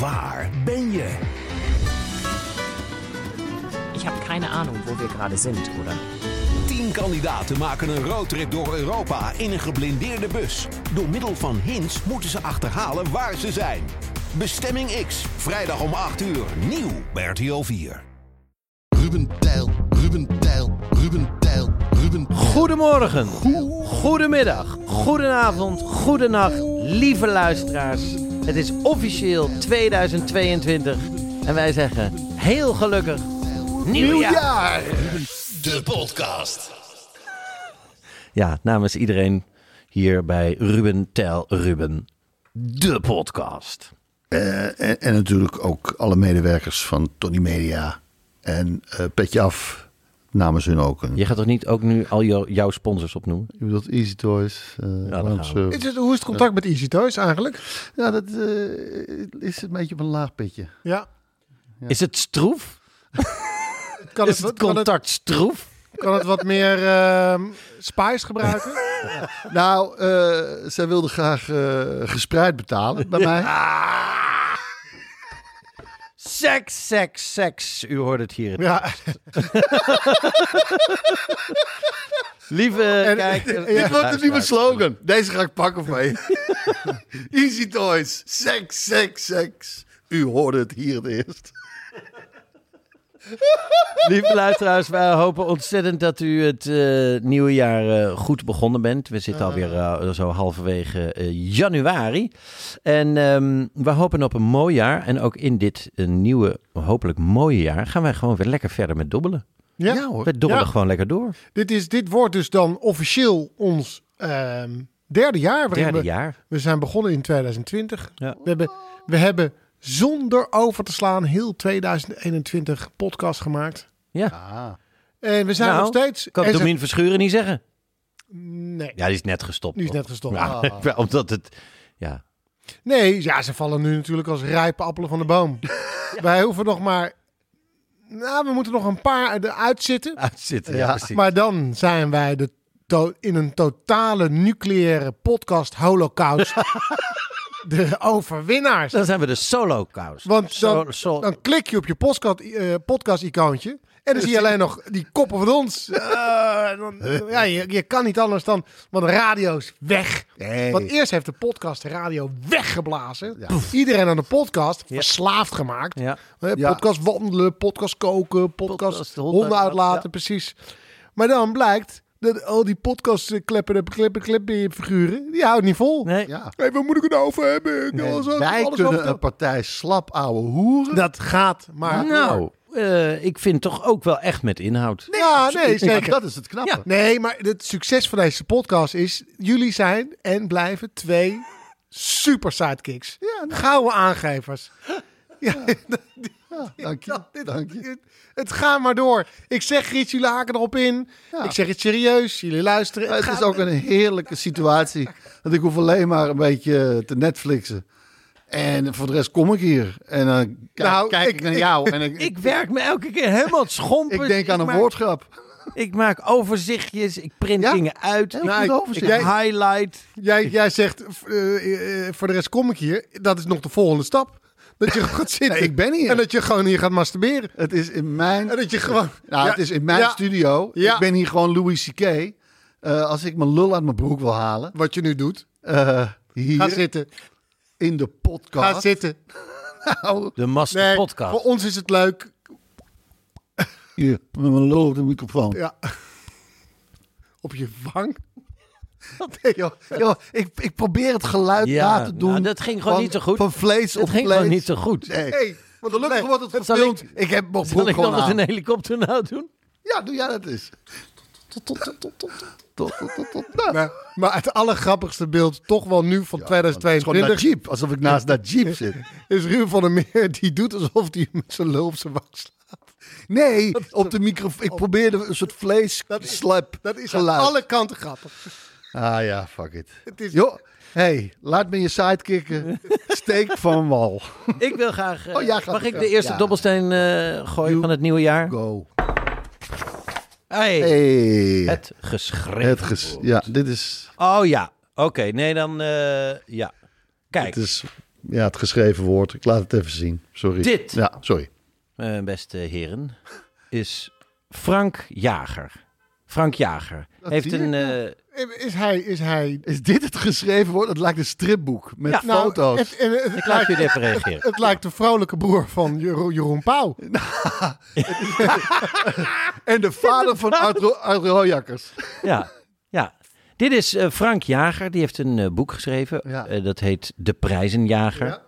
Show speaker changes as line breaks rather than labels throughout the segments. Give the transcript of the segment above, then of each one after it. Waar ben je?
Ich habe keine Ahnung, wo wir gerade sind, oder?
Tien kandidaten maken een roadtrip door Europa in een geblindeerde bus. Door middel van hints moeten ze achterhalen waar ze zijn. Bestemming X, vrijdag om 8 uur, nieuw bij RTL 4.
Ruben Tijl, Ruben Tijl, Ruben Tijl, Ruben
Goedemorgen, goedemiddag, goedenavond, goedenacht, lieve luisteraars. Het is officieel 2022 en wij zeggen heel gelukkig nieuwjaar.
Nieuwjaar, de podcast.
Ja, namens iedereen hier bij Ruben Tel Ruben, de podcast.
Eh, En, en natuurlijk ook alle medewerkers van Tony Media en eh, Petje Af namens hun ook. Een,
Je gaat toch niet ook nu al jou- jouw sponsors opnoemen?
Je bedoelt Easy Toys, eh,
daar
Lounge
gaan we.
Surf.
Is het- hoe is het contact met Easy Toys eigenlijk?
Ja, dat eh, is een beetje op een laag pitje.
Ja.
Is het stroef?
Kan
Is
het,
het
kan, het,
contact stroef?
kan het wat meer ehm, spice gebruiken?
Nou, eh, zij wilde graag eh, gespreid betalen bij mij.
Seks, seks, seks. U hoort het hier.
Ja.
Lieve
En-
eh,
kijk.
Ja,
Ik vond het nieuwe slogan. Deze ga ik pakken van je. Easy Toys, seks, seks, seks. U hoorde het hier het eerst.
Lieve luisteraars, wij hopen ontzettend dat u het eh, nieuwe jaar eh, goed begonnen bent. We zitten alweer eh, zo halverwege eh, januari. En ehm, we hopen op een mooi jaar. En ook in dit eh, nieuwe, hopelijk mooie jaar, gaan wij gewoon weer lekker verder met dobbelen.
ja.
We dobbelen
Ja.
gewoon lekker door.
Dit, is, dit wordt dus dan officieel ons ehm, derde jaar. waarin
Derde
we,
jaar.
We zijn begonnen in 2020.
Ja.
We, hebben, we hebben zonder over te slaan heel 2021 podcast gemaakt.
Ja,
En we zijn
Nou,
nog steeds...
kan
en ze-
Domien Verschuren niet zeggen.
nee,
Ja, die is net gestopt.
nu is
toch?
net gestopt. Ah.
Ja,
Ah.
Omdat het... Ja,
Nee, ja, ze vallen nu natuurlijk als rijpe appelen van de boom. Wij hoeven nog maar... Nou, we moeten nog een paar eruit zitten.
uitzitten. Ah, Ja, precies.
Maar dan zijn wij de to- in een totale nucleaire podcast holocaust de overwinnaars.
Dan zijn we de solo-kous.
Want
Zo-
dan,
zo-
dan klik je op je podcast, eh, podcast-icoontje en dan zie je alleen nog die koppen van ons. Eh, en dan- ja, je, je kan niet anders dan, want de radio is weg. Want eerst heeft de podcast de radio weggeblazen. Poef. Iedereen aan de podcast verslaafd gemaakt.
Ja.
Eh,
Ja.
Podcast wandelen, podcast koken, podcast,
Podcast honden
honden, uitlaten,
uitlaten,
precies. Maar dan blijkt dat al die podcastkleppen, kleppen, kleppen figuren, die houdt niet vol.
Nee.
Ja.
Hey, waar moet ik het over hebben? Ik wil
En
alles over-
wij
alles
kunnen
over-
een partij slap ouwe hoeren.
Dat gaat maar door.
Nou, eh, ik vind toch ook wel echt met inhoud.
ja, nee,
Ja,
zeker.
Dat is het knappe.
Ja.
Nee, maar het succes van deze podcast is... jullie zijn en blijven twee super sidekicks.
nou.
Gouden aangevers. Ja,
Dank je. Dank je.
Het, het gaat maar door. Ik zeg iets, jullie haken erop in. Ik zeg het serieus, jullie luisteren.
Het is
gaat-
ook een heerlijke situatie. Want ik hoef alleen maar een beetje te Netflixen. En voor de rest kom ik hier. En dan kijk,
Nou,
kijk ik,
ik-
naar
ik-
jou. En ik,
Ik werk me elke keer helemaal het schompen.
ik denk aan een
maak-
woordgrap.
Ik maak overzichtjes, ik print
Ja,
dingen uit.
heel
Nou,
goed
ik,
overzicht.
ik highlight.
Jij, jij zegt, eh, eh, voor de rest kom ik hier. Dat is nog de volgende stap. Dat je gewoon gaat zitten.
ik ben hier.
En dat je gewoon hier gaat masturberen.
Het is in mijn,
En dat je gewoon-
nou,
Ja,
het is in mijn
ja,
studio.
ja.
Ik ben hier gewoon Louis C.K. Eh, als ik mijn lul uit mijn broek wil halen.
Wat je nu doet.
eh, hier
Ga zitten.
in de podcast.
Ga zitten.
De Master
Nee,
Podcast.
voor ons is het leuk.
Hier, met mijn lul op de microfoon.
Ja. Op je wang.
Joh, joh, ik, ik probeer het geluid
Ja,
na te doen.
nou, dat ging gewoon
van-
niet zo goed.
Van vlees
Dat
op
ging
vlees.
gewoon niet zo goed.
Nee.
Hey, want gelukkig
Nee,
wordt het
Zal ik-
gefilmd. Ik, heb mijn broek
Zal ik
gewoon
nog eens
aan.
een helikopter nou doen?
Ja, doe jij dat eens.
Tot, tot, tot, tot, tot.
Tot, tot, tot, tot. Nou,
Maar, maar het allergrappigste beeld, toch wel nu van
het is gewoon
2022,
Najib. Alsof ik naast Najib zit.
is Ruud van der Meer. Die doet alsof hij met zijn lul op zijn wang slaat.
Nee, op de microfoon. Ik probeerde een soort vlees slap
Dat is aan
geluid.
alle kanten grappig.
Ah ja, fuck it.
Het is-
Joh, hey, laat me je sidekicken. Steek van wal.
Ik wil graag... eh,
Oh, jij gaat
mag
het
ik
wel.
de eerste
Ja.
dobbelsteen eh, gooien van het nieuwe jaar?
Go.
Hey.
Hey.
Het geschreeuw.
Het ges- ja, dit is,
Oh ja, oké. Nee, dan... eh, ja. Kijk,
het is ja, het geschreven woord. Ik laat het even zien. Sorry.
Dit.
Ja, sorry.
eh, beste heren, is Frank Jager. Frank Jager heeft
zie ik,
een... eh,
Is hij... Is hij
Is dit het geschreven woord? Het lijkt een stripboek met
Ja.
nou,
foto's.
het- en- het
ik laat
lijkt-
jullie even reageren.
Het lijkt de vrolijke broer van Jero- Jeroen Pauw.
En de vader van Arthur, Arthur Hooijakkers.
Ja, ja. Dit is eh, Frank Jager, die heeft een eh, boek geschreven.
Ja.
Eh, dat heet De Prijzenjager.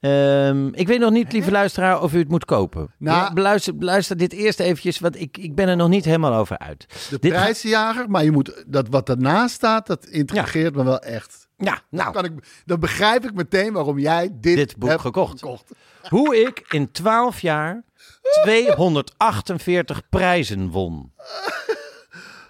Ehm, ik weet nog niet, lieve luisteraar, of u het moet kopen.
Nou-
Ja, beluister, beluister dit eerst eventjes, want ik, ik ben er nog niet helemaal over uit.
De
Dit-
prijzenjager. Maar je moet, dat wat daarnaast staat, dat intrigeert me wel echt.
Ja, nou,
Kan ik, dan begrijp ik meteen waarom jij dit,
Dit boek
hebt
gekocht. hoe ik in 12 jaar 248 prijzen won.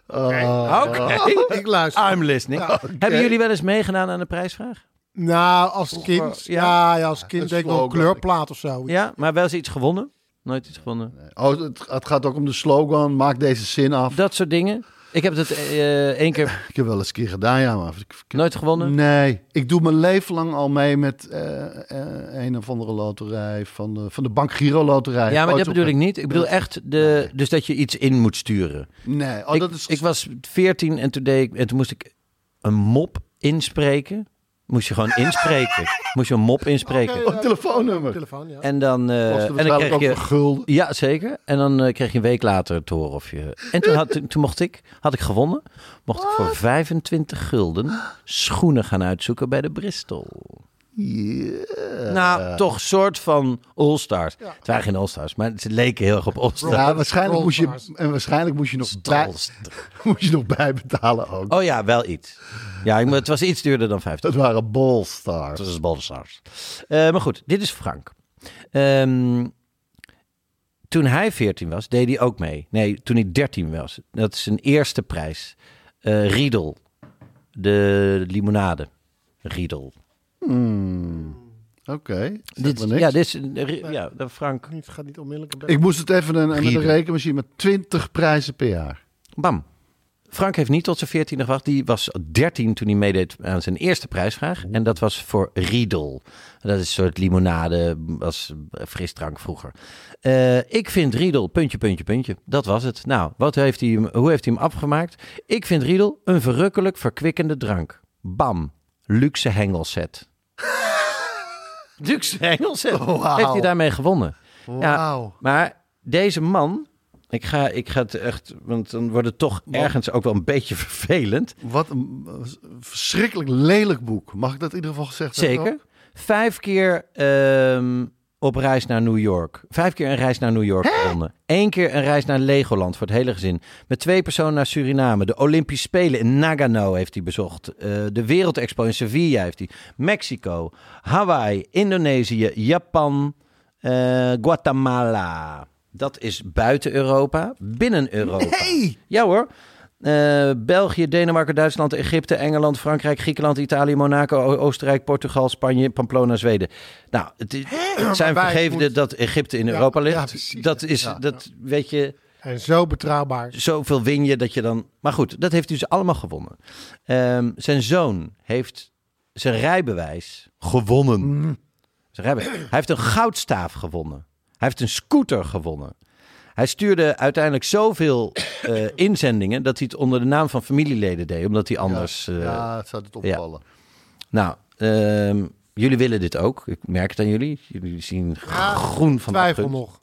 Oké,
Oh.
Ik luister.
I'm listening. Hebben jullie wel eens meegedaan aan de prijsvraag?
Nou, als kind.
ja.
Ja, ja als kind
een
denk ik wel een
slogan.
kleurplaat of zo.
Ja, maar wel eens iets gewonnen? Nooit iets gewonnen?
Oh, het, het gaat ook om de slogan, maak deze zin af.
Dat soort dingen. Ik heb het eh, één keer
Ik heb wel eens een keer gedaan, ja, maar... ik- ik-
nooit gewonnen.
Nee, ik doe mijn leven lang al mee met eh, eh, een of andere loterij van de, van de Bank Giro Loterij.
Ja, maar
Ooit
dat bedoel
op-
ik niet. Ik bedoel echt de, dus dat je iets in moet sturen.
Nee, oh,
ik,
dat is...
ik was 14 en toen, deed ik, en toen moest ik een mop inspreken. Moest je gewoon inspreken. moest je een mop inspreken.
Oh, telefoonnummer.
Telefoon, ja.
En dan, eh,
Kostte
en dan
waarschijnlijk
kreeg
ook
je...
een gulden.
Ja, zeker. En dan eh, kreeg je een week later te horen of je... En toen, had, toen mocht ik, had ik gewonnen, mocht ik voor 25 gulden schoenen gaan uitzoeken bij de Bristol. Nou, toch soort van All-Stars. Het waren geen All-Stars, maar ze leken heel erg op All-Stars.
Ja, waarschijnlijk moest je,
Rollstars.
en waarschijnlijk moest je nog, bij,
Stals.
moest je nog bijbetalen ook.
Oh ja, wel iets. Ja, ik- maar het was iets duurder dan 50.
Dat waren bolstars.
Dat is Baldassars. Eh, maar goed, dit is Frank. Ehm, toen hij 14 was, deed hij ook mee. Nee, toen hij 13 was. Dat is zijn eerste prijs. Eh, Riedel. De limonade. Riedel.
Oké, zegt
Dit,
me niks.
ja, dit is een- ri- ja, de Frank.
Niet, gaat niet onmiddellijk een bed.
Ik moest het even een, met een
Gieren.
rekenmachine met 20 prijzen per jaar.
Bam. Frank heeft niet tot zijn 14 gewacht. Die was 13 toen hij meedeed aan zijn eerste prijsvraag. En dat was voor Riedel. Dat is een soort limonade, was frisdrank vroeger. Eh, ik vind Riedel, puntje, puntje, puntje. Dat was het. Nou, wat heeft hij, hem- hoe heeft hij hem afgemaakt? Ik vind Riedel een verrukkelijk verkwikkende drank. Bam. Luxe hengelset. Luxe hengelset. Heeft hij daarmee gewonnen? Ja,
Wauw.
maar deze man... Ik ga, ik ga het echt, want dan wordt het toch ergens ook wel een beetje vervelend.
Wat een eh, verschrikkelijk lelijk boek. Mag ik dat in ieder geval gezegd hebben?
Zeker. Vijf keer ehm, op reis naar New York. Vijf keer een reis naar New York gewonnen. Eén keer een reis naar Legoland voor het hele gezin. Met twee personen naar Suriname. De Olympische Spelen in Nagano heeft hij bezocht. Eh, de Wereldexpo in Sevilla heeft hij. Mexico, Hawaii, Indonesië, Japan, eh, Guatemala. Dat is buiten Europa. Binnen Europa. Ja hoor. Eh, België, Denemarken, Duitsland, Egypte, Engeland, Frankrijk, Griekenland, Italië, Monaco, O- Oostenrijk, Portugal, Spanje, Pamplona, Zweden. Nou, het, is- het zijn
Maar wij
vergevende
moeten-
dat Egypte in
Ja,
Europa ligt.
ja, precies.
dat is, dat weet je,
En zo betrouwbaar.
zoveel win je dat je dan. Maar goed, dat heeft hij dus allemaal gewonnen. Ehm, zijn zoon heeft zijn rijbewijs gewonnen. Zijn rijbewijs. Hij heeft een goudstaaf gewonnen. Hij heeft een scooter gewonnen. Hij stuurde uiteindelijk zoveel eh, inzendingen dat hij het onder de naam van familieleden deed, omdat hij anders. eh,
Ja, het zou het opvallen.
Nou, ehm, jullie willen dit ook. Ik merk het aan jullie. Jullie zien groen van de
Twijfel
gunst.
nog.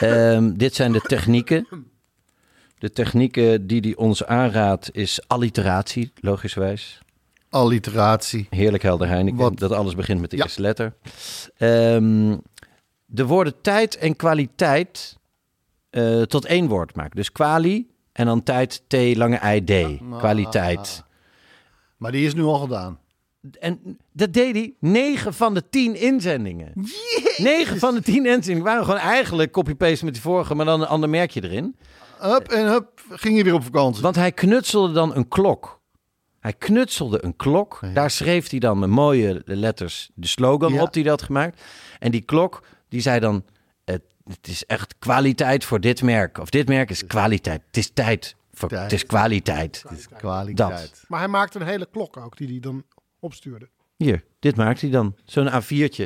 Ehm, dit zijn de technieken. De technieken die hij ons aanraadt is alliteratie, logischwijs.
Alliteratie.
Heerlijk helder Heineken,
Wat-
dat alles begint met de
Ja.
eerste letter. Ehm, de woorden tijd en kwaliteit eh, tot één woord maken. Dus kwali, En dan tijd T lange I D.
Ah.
Kwaliteit.
Maar die is nu al gedaan.
En dat deed hij 9 van de 10 inzendingen. 9 van de 10 inzendingen waren gewoon eigenlijk copy-paste met die vorige, maar dan een ander merkje erin.
Hup en hup, ging je weer op vakantie.
Want hij knutselde dan een klok. Hij knutselde een klok. Daar schreef hij dan met mooie letters de slogan
Ja.
op die hij had gemaakt. En die klok, die zei dan... Het, het is echt kwaliteit voor dit merk. Of dit merk is kwaliteit. Het is tijd. Voor,
Tijd.
het is kwaliteit.
Kwaliteit.
Maar hij maakte een hele klok ook, die hij dan opstuurde.
Hier, dit maakt hij dan. Zo'n A4'tje.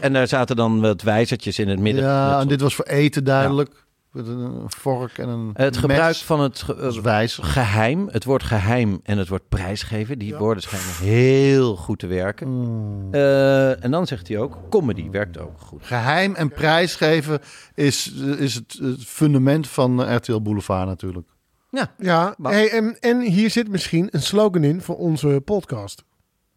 En daar zaten dan wat wijzertjes in het midden.
Ja,
Dat-
en dit was voor eten duidelijk. Met een- een vork en een
het gebruik
mes
van het ge-
als wijzer.
geheim, het woord geheim en het woord prijsgeven, die woorden schijnen heel goed te werken.
Mm.
Eh, en dan zegt hij ook, comedy werkt ook goed.
Geheim en prijsgeven is, is het, het fundament van eh, RTL Boulevard natuurlijk.
Ja,
Ja,
Maar-
hey, en, en hier zit misschien een slogan in voor onze podcast.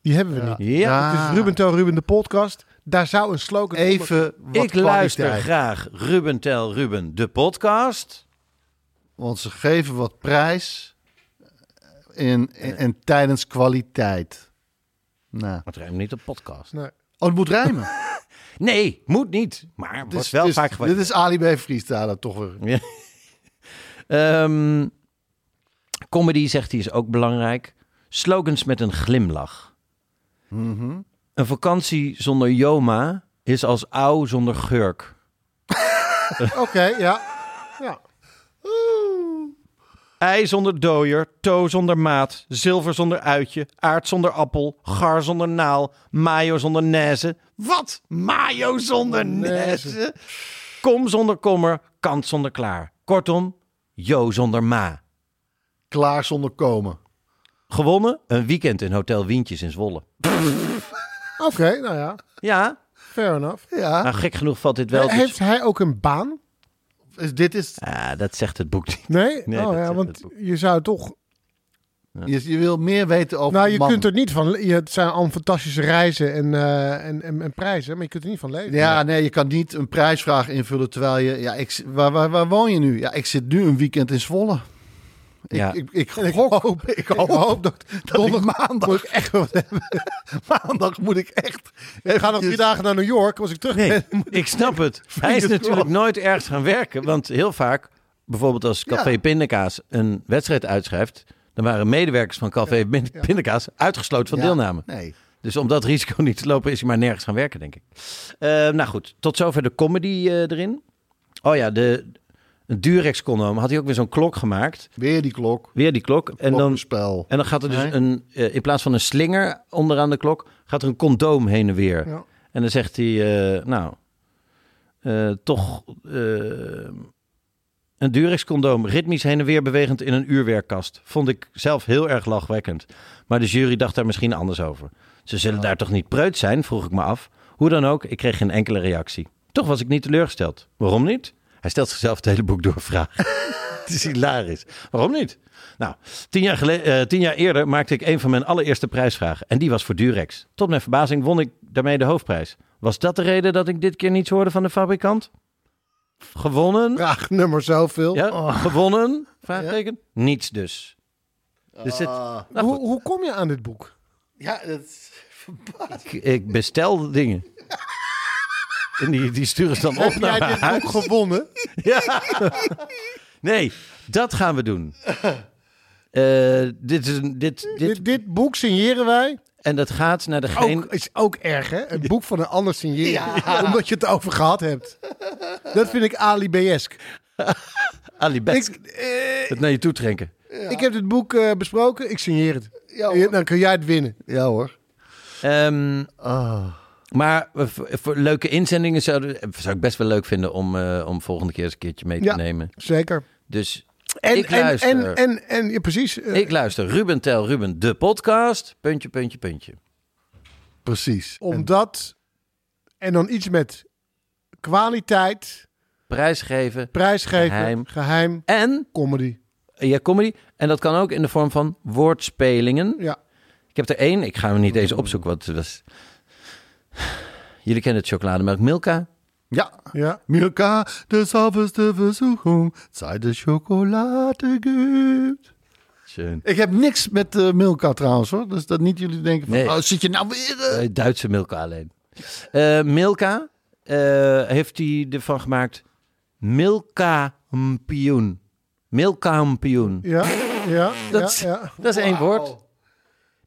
Die hebben we niet.
ja.
Het is Ruben Tel Ruben de podcast. Daar zou een slogan
Even wat
ik luister
kwaliteit.
graag Ruben Tel Ruben, de podcast.
Want ze geven wat prijs en, en, en tijdens kwaliteit. Nou.
Maar het rijmt niet op podcast.
Nee.
Oh, het moet rijmen.
Nee, moet niet. Maar wordt
Dit is-
wel
dit is-
vaak
Dit
gebruikt.
is Ali B. Freestyle toch weer.
Ehm, comedy, zegt hij, is ook belangrijk. Slogans met een glimlach.
Mhm.
Een vakantie zonder Joma is als au zonder Gurk.
Oké, ja. ja.
Ei zonder dooier, toe zonder maat, zilver zonder uitje, aard zonder appel, gar zonder naal, mayo zonder nezen. Wat? Mayo zonder nezen? Kom zonder kommer, kant zonder klaar. Kortom, jo zonder ma.
Klaar zonder komen.
Gewonnen? Een weekend in Hotel Wientjes in Zwolle.
Oké, nou ja.
Ja,
Fair enough.
Ja,
nou gek genoeg valt dit wel.
Heeft
Dus,
hij ook een baan?
dus dit is...
ah, dat zegt het boek niet.
Nee?
Nee,
oh,
dat-
ja,
dat-
want
dat-
je zou toch...
Je, je wil meer weten over
Nou,
de
je
man.
kunt er niet van... Je, het zijn allemaal fantastische reizen en, eh, en, en, en prijzen, maar je kunt er niet van leven.
Ja, nee, je kan niet een prijsvraag invullen terwijl je... Ja, ik, waar, waar, waar woon je nu? Ja, ik zit nu een weekend in Zwolle. Ik,
Ja.
ik, ik, gok- ik hoop, dat, dat ik maandag moet ik echt wat hebben. maandag moet ik echt...
Ik ga nog drie dagen naar New York. Als ik terug
dus- Nee,
ben,
ik snap het. Hij is
Fingers
natuurlijk
crossed.
nooit ergens gaan werken. Want heel vaak, bijvoorbeeld als Café
Ja.
Pindakaas een wedstrijd uitschrijft... dan waren medewerkers van Café Pin- Pindakaas uitgesloten van
Ja,
deelname.
Nee.
Dus om dat risico niet te lopen is hij maar nergens gaan werken, denk ik. Eh, nou goed, tot zover de comedy eh, erin. Oh ja, de, een Durex-condoom had hij ook weer zo'n klok gemaakt.
Weer die klok.
Weer die klok. En dan,
spel.
en dan gaat er dus
Nee.
een, eh, in plaats van een slinger onderaan de klok, gaat er een condoom heen en weer.
Ja.
En dan zegt hij, eh, nou, eh, toch eh, een Durex-condoom, ritmisch heen en weer bewegend in een uurwerkkast. Vond ik zelf heel erg lachwekkend. Maar de jury dacht daar misschien anders over. Ze zullen daar toch niet preut zijn, vroeg ik me af. Hoe dan ook, ik kreeg geen enkele reactie. Toch was ik niet teleurgesteld. Waarom niet? Hij stelt zichzelf het hele boek door vragen. Het is hilarisch. Waarom niet? Nou, tien jaar, gele- eh, tien jaar eerder maakte ik een van mijn allereerste prijsvragen. En die was voor Durex. Tot mijn verbazing won ik daarmee de hoofdprijs. Was dat de reden dat ik dit keer niets hoorde van de fabrikant? Gewonnen?
vraag nummer zoveel.
Ja, gewonnen? Vraagteken? Niets dus. Dus het,
Ah.
nou goed,
hoe, hoe kom je aan dit boek?
Ja, dat...
ik, ik bestel dingen. En die, die sturen ze dan op nou, naar mijn huis.
Ook gewonnen.
Ja. Nee, dat gaan we doen. Eh, dit is een, dit, dit,
Dit, dit boek signeren wij.
en dat gaat naar degene...
Ook, is ook erg, hè? Een boek van een ander signeren. Omdat je het over gehad hebt. Dat vind ik Ali Besk.
Ali Bets,
Ik, eh,
het naar je toe trekken.
ik heb dit boek eh, besproken. Ik signeer het. Ja, dan kun jij het winnen. Ah.
Ja hoor.
Ehm, Maar eh, voor, voor leuke inzendingen zouden, eh, zou ik best wel leuk vinden om, eh, om volgende keer eens een keertje mee te
Ja.
nemen.
Zeker.
Dus
En,
ik
en,
luister.
en, en, en ja, precies. eh,
ik luister Ruben Tel Ruben, de podcast. Puntje, puntje, puntje.
Precies.
omdat. En dan iets met kwaliteit,
Prijsgeven
prijsgeven,
Geheim.
geheim,
en
comedy.
eh, ja, comedy. En dat kan ook in de vorm van woordspelingen.
Ja.
Ik heb er één. Ik ga hem niet eens opzoeken. Want het was... Jullie kennen het chocolademelk Milka.
Ja.
Ja.
Mirka, de sauberste verzoeking, zij de chocolade gibt.
Schön.
Ik heb niks met eh, Milka trouwens hoor. Dus dat niet jullie denken van,
Nee.
oh, zit je nou weer... eh?
Eh, Duitse Milka alleen. Eh, Milka eh, heeft hij ervan gemaakt Milkampioen. Milkampioen.
Ja, ja,
Dat, is-
ja, ja.
dat is één woord.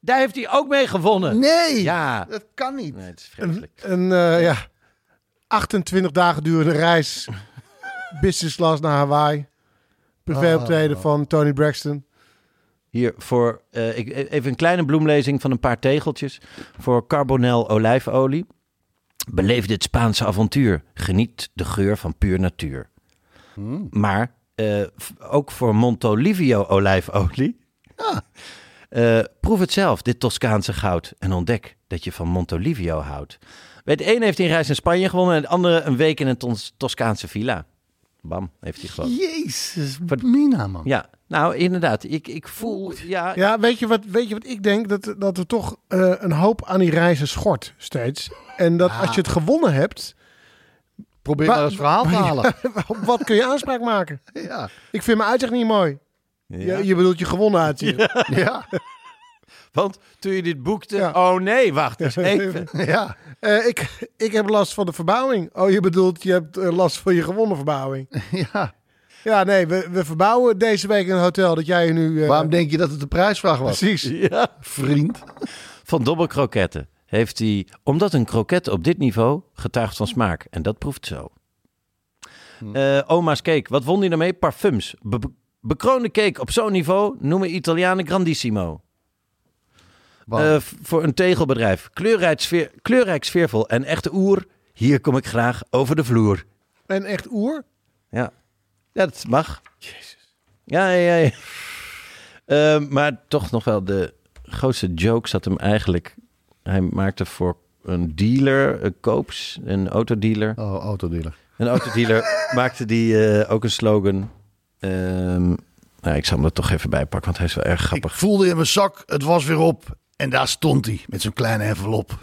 Daar heeft hij ook mee gewonnen.
Oh. Nee,
Ja.
dat kan niet.
Nee, het is vreselijk.
Een eh, ja, 28 dagen durende reis. Business class naar Hawaii. Privéoptreden van Tony Braxton.
Hier voor eh, ik, even een kleine bloemlezing van een paar tegeltjes. Voor Carbonel olijfolie. Beleef dit Spaanse avontuur. Geniet de geur van puur natuur. Maar eh, f- ook voor Montolivio olijfolie. Eh, proef het zelf, dit Toscaanse goud. En ontdek dat je van Montolivio houdt. Bij het ene heeft hij een reis in Spanje gewonnen. En het andere een week in een Tos- Toscaanse villa. Bam, heeft hij gewonnen.
Jezus, Mina man.
Ja, nou inderdaad. Ik, ik voel... Ja,
Ja, weet je wat, weet je wat ik denk? Dat, dat er toch eh, een hoop aan die reizen schort steeds. En dat als je het gewonnen hebt,
Probeer
Maar-
maar eens verhaal te halen.
op wat kun je aanspraak maken?
Ja.
Ik vind mijn uitzicht niet mooi. Je, je bedoelt je gewonnen uitzicht.
Ja.
Want toen je dit boekte,
Ja.
oh nee, wacht eens even.
ja.
Eh, ik, ik heb last van de verbouwing. Oh, je bedoelt, je hebt eh, last van je gewonnen verbouwing.
ja.
Ja, nee, we, we verbouwen deze week een hotel dat jij nu... eh,
Waarom denk je dat het de prijsvraag was?
Precies.
Vriend.
Van dobbelkroketten heeft hij, omdat een kroket op dit niveau getuigt van smaak. En dat proeft zo.
Hm.
Eh, oma's cake, wat won hij daarmee? Parfums. Be- be- bekroonde cake op zo'n niveau noemen Italianen grandissimo.
Wow.
Eh, v- voor een tegelbedrijf. Kleurrijk, sfeer, kleurrijk sfeervol en echte oer. Hier kom ik graag over de vloer.
En echt oer.
Ja, ja dat mag. Ja, ja, ja. Eh, maar toch nog wel de grootste joke zat hem eigenlijk... Hij maakte voor een dealer, een koops, een autodealer.
Oh, autodealer.
Een autodealer maakte die eh, ook een slogan. Ehm, nou, ik zal hem er toch even bij pakken, want hij is wel erg
Ik
grappig.
voelde in mijn zak, het was weer op. En daar stond hij, met zo'n kleine envelop.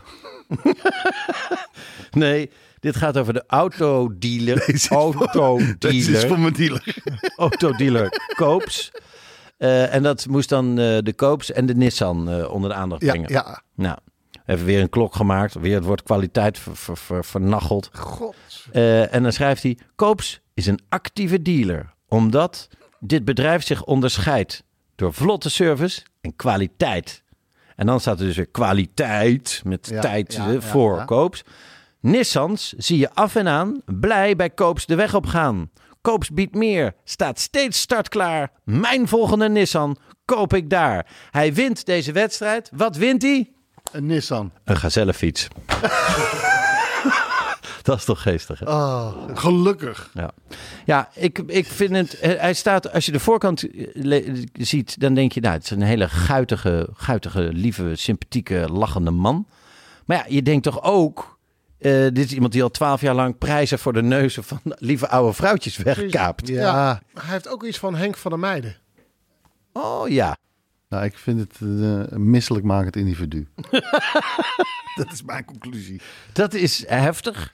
Nee, dit gaat over de autodealer.
Dat is
autodealer.
voor mijn dealer.
autodealer Koops. Eh, en dat moest dan eh, de Koops en de Nissan eh, onder de aandacht
Ja,
brengen.
ja.
Nou, even weer een klok gemaakt. Weer het woord kwaliteit ver, ver, ver- vernacheld. Eh, en dan schrijft hij... Koops is een actieve dealer. Omdat dit bedrijf zich onderscheidt door vlotte service en kwaliteit. En dan staat er dus weer kwaliteit met
Ja,
tijd
ja,
eh,
ja,
voor
ja.
Koops. Nissans zie je af en aan blij bij Koops de weg op gaan. Koops biedt meer, staat steeds startklaar. Mijn volgende Nissan koop ik daar. Hij wint deze wedstrijd. Wat wint hij?
Een Nissan.
Een gazellenfiets. Dat is toch geestig, hè?
Oh, gelukkig.
Ja, ja ik, ik vind het... eh, Hij staat... Als je de voorkant eh, le- ziet, dan denk je... Nou, het is een hele guitige, guitige lieve, sympathieke, lachende man. Maar ja, je denkt toch ook... eh, dit is iemand die al twaalf jaar lang prijzen voor de neuzen van lieve oude vrouwtjes wegkaapt.
Ja.
Hij heeft ook iets van Henk van der Meijden.
Oh ja.
Nou, ik vind het eh, een misselijkmakend individu. dat is mijn conclusie.
Dat is heftig.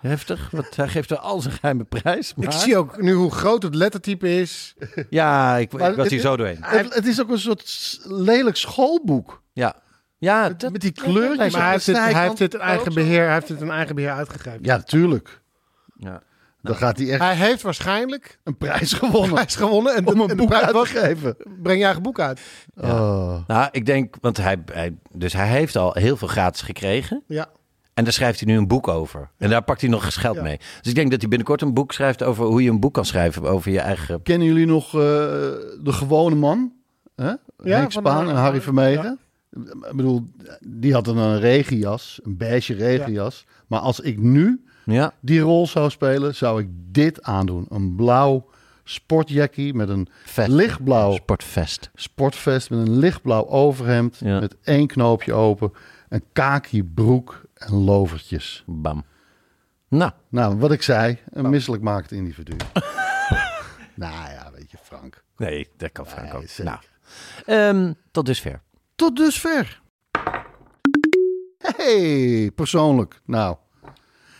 Heftig, want hij geeft er al zijn geheime prijs. Maar...
Ik zie ook nu hoe groot het lettertype is.
Ja, ik, ik
Maar
was
het-
hier zo doorheen.
Het, het is ook een soort s- lelijk schoolboek.
Ja. Ja, dat-
Met die kleurtjes.
Maar hij
op de
heeft dit, hij heeft
snijkant.
dit in eigen beheer, hij heeft dit in eigen beheer uitgegeven.
Ja, natuurlijk.
ja.
Dan gaat hij echt
Hij heeft waarschijnlijk
een prijs gewonnen.
prijs gewonnen en,
om een
en
boek
prijs
uit te
was,
geven.
breng je eigen boek uit.
Oh.
Nou, ik denk, want hij, hij, dus hij heeft al heel veel gratis gekregen.
Ja.
En daar schrijft hij nu een boek over. En daar pakt hij nog eens geld mee. Dus ik denk dat hij binnenkort een boek schrijft over hoe je een boek kan schrijven over je eigen.
Kennen jullie nog eh, de gewone man? Hè? Henk
van
Spaan
de-
en Harry Vermegen. Ik bedoel, die had een, een regenjas, een beige regenjas. Maar als ik nu
Ja.
die rol zou spelen, zou ik dit aandoen. Een blauw sportjackie met een
Vest.
lichtblauw
Sportvest.
sportvest, met een lichtblauw overhemd,
Ja.
met één knoopje open, een kaki broek en lovertjes.
Bam. Nou,
Nou, wat ik zei, een
Oh.
misselijk maakt individu. nou ja, weet je, Frank.
nee, dat kan Frank ook.
zeker.
Nou, Ehm, tot dusver.
Tot dusver. Hey, persoonlijk. Nou,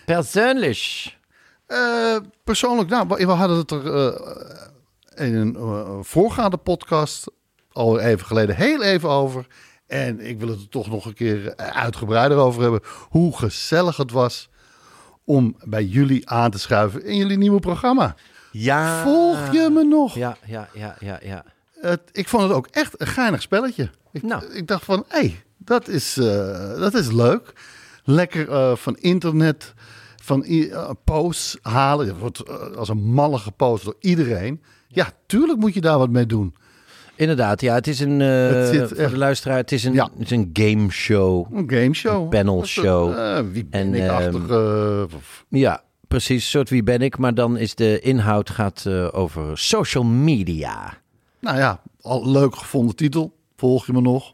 Persoonlijk.
Eh, persoonlijk, nou, we we hadden het er eh, in een eh, voorgaande podcast al even geleden heel even over. En ik wil het er toch nog een keer eh, uitgebreider over hebben. Hoe gezellig het was om bij jullie aan te schuiven in jullie nieuwe programma.
Ja.
Volg je me nog?
Ah, Ja, ja, ja, ja, ja.
Het- ik vond het ook echt een geinig spelletje. Ik,
Nou.
ik dacht van, hé, hey, dat, is, eh, dat is leuk. Lekker eh, van internet, van i- eh, posts halen. Je wordt eh, als een malle gepost door iedereen. Ja, tuurlijk moet je daar wat mee doen.
Inderdaad, ja, het is een, eh,
Het zit
voor
echt-
de luisteraar, het is een,
Ja.
het is een game show.
Een gameshow.
Een panelshow.
Eh, wie ben
En,
ik
ehm,
achter? eh, of-
Ja, precies, een soort wie ben ik, maar dan is de inhoud gaat eh, over social media.
nou ja, al leuk gevonden titel. Volg je me nog?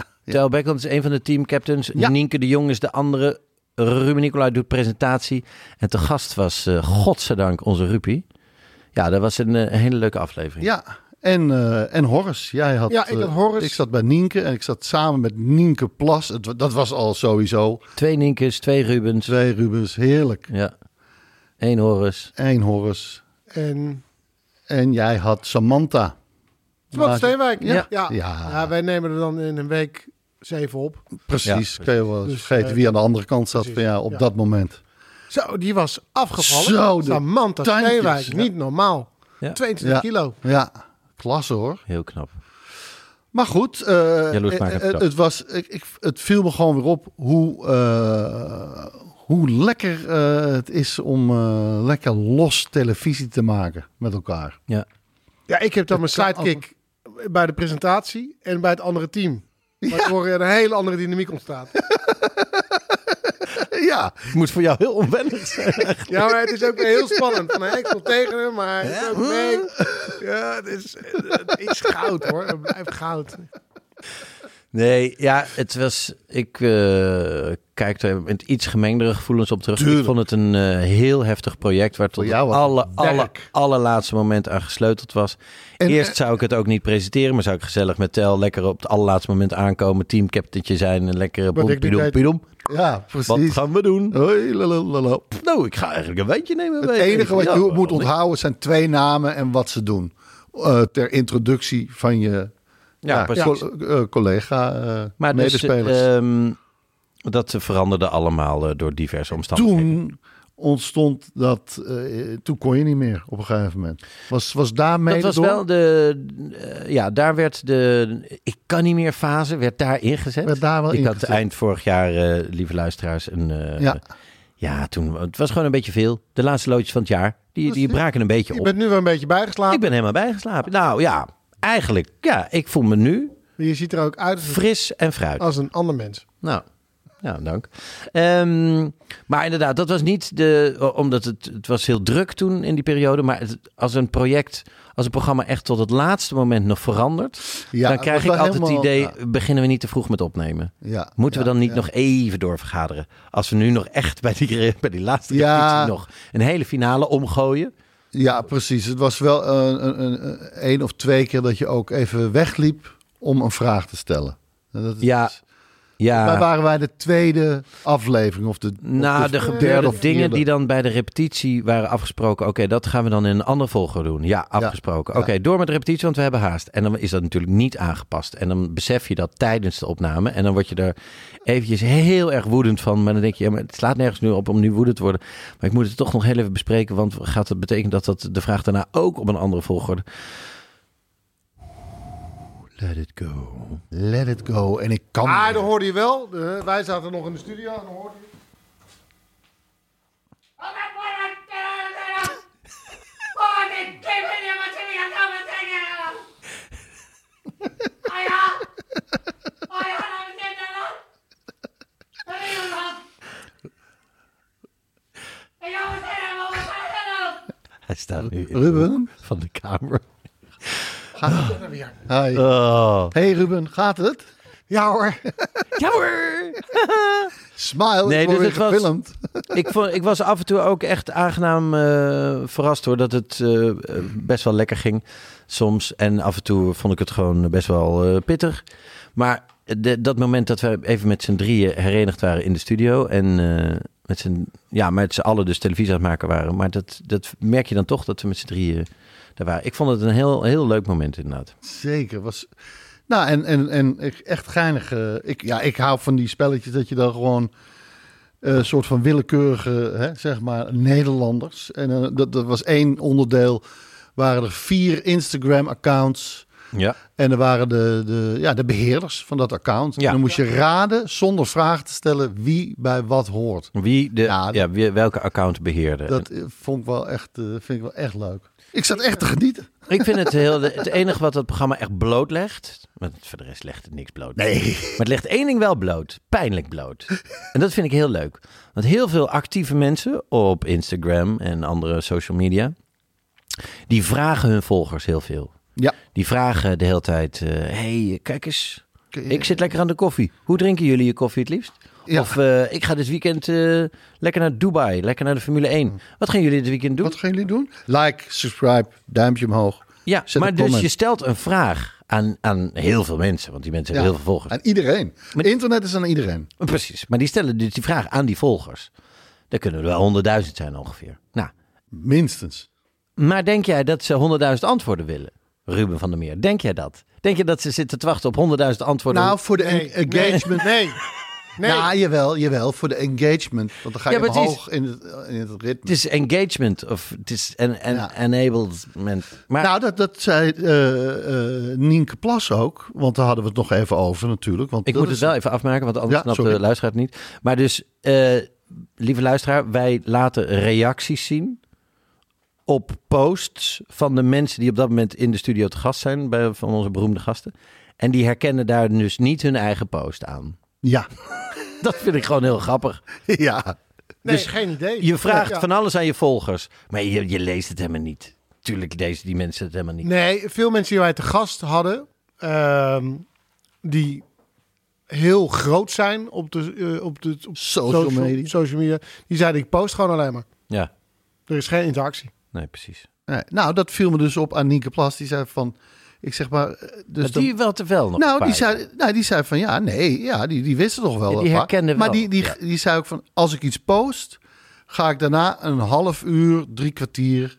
Tel Beckland is een van de teamcaptains,
Ja.
Nienke de Jong is de andere, Ruben Nicolai doet presentatie en te gast was, eh godzijdank, onze Rupie. Ja, dat was een, eh, hele leuke aflevering.
Ja, en, eh, en Horace. Jij had,
Ja, ik had
eh,
Horace.
ik zat bij Nienke en ik zat samen met Nienke Plas. Het wa- dat was al sowieso.
Twee Nienkes, twee Rubens,
Twee Rubens, heerlijk.
ja. Eén Horus.
Eén Horace.
En
En jij had Samantha.
Wat
Maar-
Steenwijk?
Ja.
Ja.
Ja.
Ja, wij nemen er dan in een week zeven op.
Precies.
Ja,
kun je wel eens
Dus,
vergeten
eh,
wie aan de andere kant zat van, ja, op
ja.
dat moment.
Zo, die was afgevallen.
Zo, de
Samantha
tandjes.
Steenwijk,
Ja.
niet normaal.
Ja.
22
Ja.
kilo.
Ja, klasse hoor.
Heel knap.
Maar goed, eh,
Jaloersmakend
eh, eh,
dag.
het, was, ik, ik, het viel me gewoon weer op hoe, eh, hoe lekker eh, het is om eh, lekker los televisie te maken met elkaar.
Ja.
Ja, ik heb dan mijn
Het kan
sidekick bij de presentatie en bij het andere team. Waardoor er een hele andere dynamiek ontstaat.
Ja,
Moet voor jou heel onwennig zijn.
Ja, maar het is ook weer heel spannend. Van, hè, ik wil tegen hem, maar het is ook mee. Ja, het is, het is goud hoor. Het blijft goud.
Nee, ja, het was. Ik eh, kijk er met iets gemengdere gevoelens op terug. Ik
Tuurlijk.
vond het een eh, heel heftig project waar tot het
jou was het
alle, alle,
werk. eh,
allerlaatste moment aan gesleuteld was. Eerst zou ik het ook niet presenteren, maar zou ik gezellig met Tel lekker op het allerlaatste moment aankomen, teamcaptaintje zijn en lekker
Wat ik niet deed.
boempidoempidoem.
ja
Wat
precies.
gaan we doen?
Hoi, lalalala.
Nou, ik ga eigenlijk een wijntje nemen.
Het
bij-
enige wat
Ja,
je
waarom
moet
niet?
onthouden zijn twee namen en wat ze doen. Eh, ter introductie van je
Ja,
ja,
precies.
co- eh, collega, eh,
Maar dus,
medespelers.
ehm, dat veranderde allemaal eh, door diverse omstandigheden.
toen ontstond dat, eh, toen kon je niet meer op een gegeven moment. Was, was daarmee
Dat was
door?
wel de. eh, ja, daar werd de. Ik kan niet meer fase, werd daar ingezet.
Werd daar wel
ik
ingezet.
had eind vorig jaar, eh, lieve luisteraars, een. eh,
Ja.
ja. toen. Het was gewoon een beetje veel. De laatste loodjes van het jaar. Die, die braken een beetje
Je
op.
bent nu wel een beetje
Ik
bijgeslapen.
ben helemaal bijgeslapen. Nou ja, eigenlijk. Ja, ik voel me nu
Je ziet er ook uit als-
fris en fruit.
Oh,
als een ander mens.
Nou, ja, dank. Ehm, maar inderdaad, dat was niet de. Omdat het, het was heel druk toen in die periode. Maar het- als een project, als een programma echt tot het laatste moment nog verandert.
Ja,
dan
het
krijg
was
ik
wel
altijd het
helemaal-
idee:
ja.
beginnen we niet te vroeg met opnemen?
Ja,
Moeten
ja,
we dan niet
ja.
nog even doorvergaderen? Als we nu nog echt bij die, re- bij die laatste
Ja.
repetitie nog een hele finale omgooien.
Ja, precies. Het was wel eh, een, een, een, één of twee keer dat je ook even wegliep om een vraag te stellen. En Dat is,
Ja.
Wij
Ja,
waren wij de tweede aflevering of de of dus
na Nou, de
derde
gebeurde
of
dingen
vierde.
die dan bij de repetitie waren afgesproken. Oké, dat gaan we dan in een andere volgorde doen. Ja, afgesproken.
ja.
Oké, door met de repetitie, want we hebben haast. En dan is dat natuurlijk niet aangepast. En dan besef je dat tijdens de opname. En dan word je er eventjes heel erg woedend van. Maar dan denk je, ja, maar het slaat nergens nu op om nu woedend te worden. Maar ik moet het toch nog heel even bespreken. Want gaat het betekenen dat, dat de vraag daarna ook op een andere volgorde... Let it go.
Let it go. En ik kan.
Ah, dat hoorde je wel. De- wij zaten nog in de studio en dan hoorde je.
Hij staat nu in de
Ruben?
hoek van de kamer.
Hi.
Oh.
Hey Ruben, gaat het?
Ja hoor.
Ja hoor!
Smile,
Nee,
nee,
dus
weer
het was-
gefilmd.
ik, vond, ik was af en toe ook echt aangenaam eh, verrast hoor. Dat het eh, eh, best wel lekker ging soms. En af en toe vond ik het gewoon best wel eh, pittig. Maar de- dat moment dat we even met z'n drieën herenigd waren in de studio. En eh, met z'n, ja, met z'n allen dus televisie aan het maken waren. Maar dat, dat merk je dan toch dat we met z'n drieën daar waren. Ik vond het een heel, heel leuk moment inderdaad.
Zeker. Was... Nou, en, en, en ik- echt geinig. eh, ik, ja, ik hou van die spelletjes dat je dan gewoon een soort van willekeurige, hè, zeg maar, Nederlanders. En eh, dat, dat was één onderdeel. Waren er vier Instagram-accounts.
Ja.
En er waren de, de, ja, de beheerders van dat account.
Ja.
En dan moest je raden, zonder vragen te stellen, wie bij wat hoort.
Wie de, ja,
Ja,
wie, welke account beheerde.
Dat eh, vond ik wel echt, eh, vind ik wel echt leuk. Ik zat echt te genieten.
Ik vind het heel. Het enige wat dat programma echt blootlegt. Want voor de rest legt het niks bloot.
Nee.
Maar het legt één ding wel bloot. Pijnlijk bloot. En dat vind ik heel leuk. Want heel veel actieve mensen op Instagram en andere social media. die vragen hun volgers heel veel.
Ja.
Die vragen de hele tijd: eh, hey, kijk eens.
Kun je-
Ik zit lekker aan de koffie. Hoe drinken jullie je koffie het liefst?
Ja.
Of eh, ik ga dit weekend eh, lekker naar Dubai, lekker naar de Formule 1. Wat gaan jullie dit weekend doen?
Wat gaan jullie doen? Like, subscribe, duimpje omhoog.
Ja,
Zet
maar
een
dus
comment.
je stelt een vraag aan, aan heel veel mensen, want die mensen
Ja,
hebben heel veel volgers. Eh,
Aan iedereen. Internet is aan iedereen.
Precies, maar die stellen dus die vraag aan die volgers. Daar kunnen er wel honderdduizend zijn ongeveer. Nou,
Minstens.
maar denk jij dat ze honderdduizend antwoorden willen? Ruben van der Meer, denk jij dat? Denk je dat ze zitten te wachten op honderdduizend antwoorden?
Nou, voor de en- engagement.
Nee. Nee.
Ja, Nou, jawel, jawel. Voor de engagement. Want dan ga je
Ja, maar het is-
omhoog in, het, in het ritme.
het is engagement of het is en en
Ja.
enablement. Maar
Nou, dat, dat zei eh, eh, Nienke Plas ook. Want daar hadden we het nog even over natuurlijk. Want
Ik
dat
moet het
is-
wel even afmaken, want anders
Ja,
snapt de
sorry.
luisteraar het niet. Maar dus, eh, lieve luisteraar, wij laten reacties zien op posts van de mensen die op dat moment in de studio te gast zijn, bij, van onze beroemde gasten. En die herkennen daar dus niet hun eigen post aan.
Ja.
Dat vind ik gewoon heel grappig.
ja.
Nee,
dus
geen idee.
Je vraagt
Ja.
van alles aan je volgers, maar je, je leest het helemaal niet. Tuurlijk lezen die mensen het helemaal niet.
Nee, veel mensen die wij te gast hadden, ehm, die heel groot zijn op de, eh, op de op
Social media.
social media, die zeiden ik post gewoon alleen maar.
Ja,
Er is geen interactie.
nee, precies.
Nee, Nou, dat viel me dus op aan Nienke Plas. Die zei van... Ik zeg maar... eh, Dus
Dus die wel te wel nog.
Nou, die
kwijt.
zei, nou, die zei van ja, nee, ja, die, die wisten toch wel.
Ja, die
een paar.
herkenden
Maar
wel,
die, die,
ja.
die zei ook van als ik iets post, ga ik daarna een half uur, drie kwartier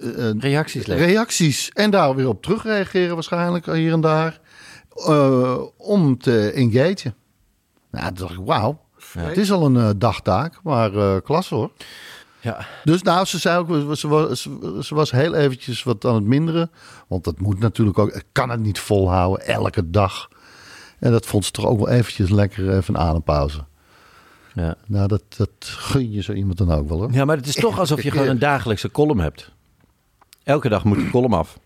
eh, eh,
Reacties lezen.
reacties en daar weer op terugreageren waarschijnlijk hier en daar eh, om te engagen. Nou, toen dacht ik, wauw. Het is al een eh, dagtaak, maar eh klasse hoor.
Ja.
Dus nou, ze zei ook, ze was, ze- ze was heel eventjes wat aan het minderen. Want dat moet natuurlijk ook, ik kan het niet volhouden elke dag. En dat vond ze toch ook wel eventjes lekker even een adempauze.
ja.
Nou, dat, dat gun je zo iemand dan ook wel hoor.
Ja, maar het is toch alsof je gewoon een dagelijkse column hebt. Elke dag moet je column af.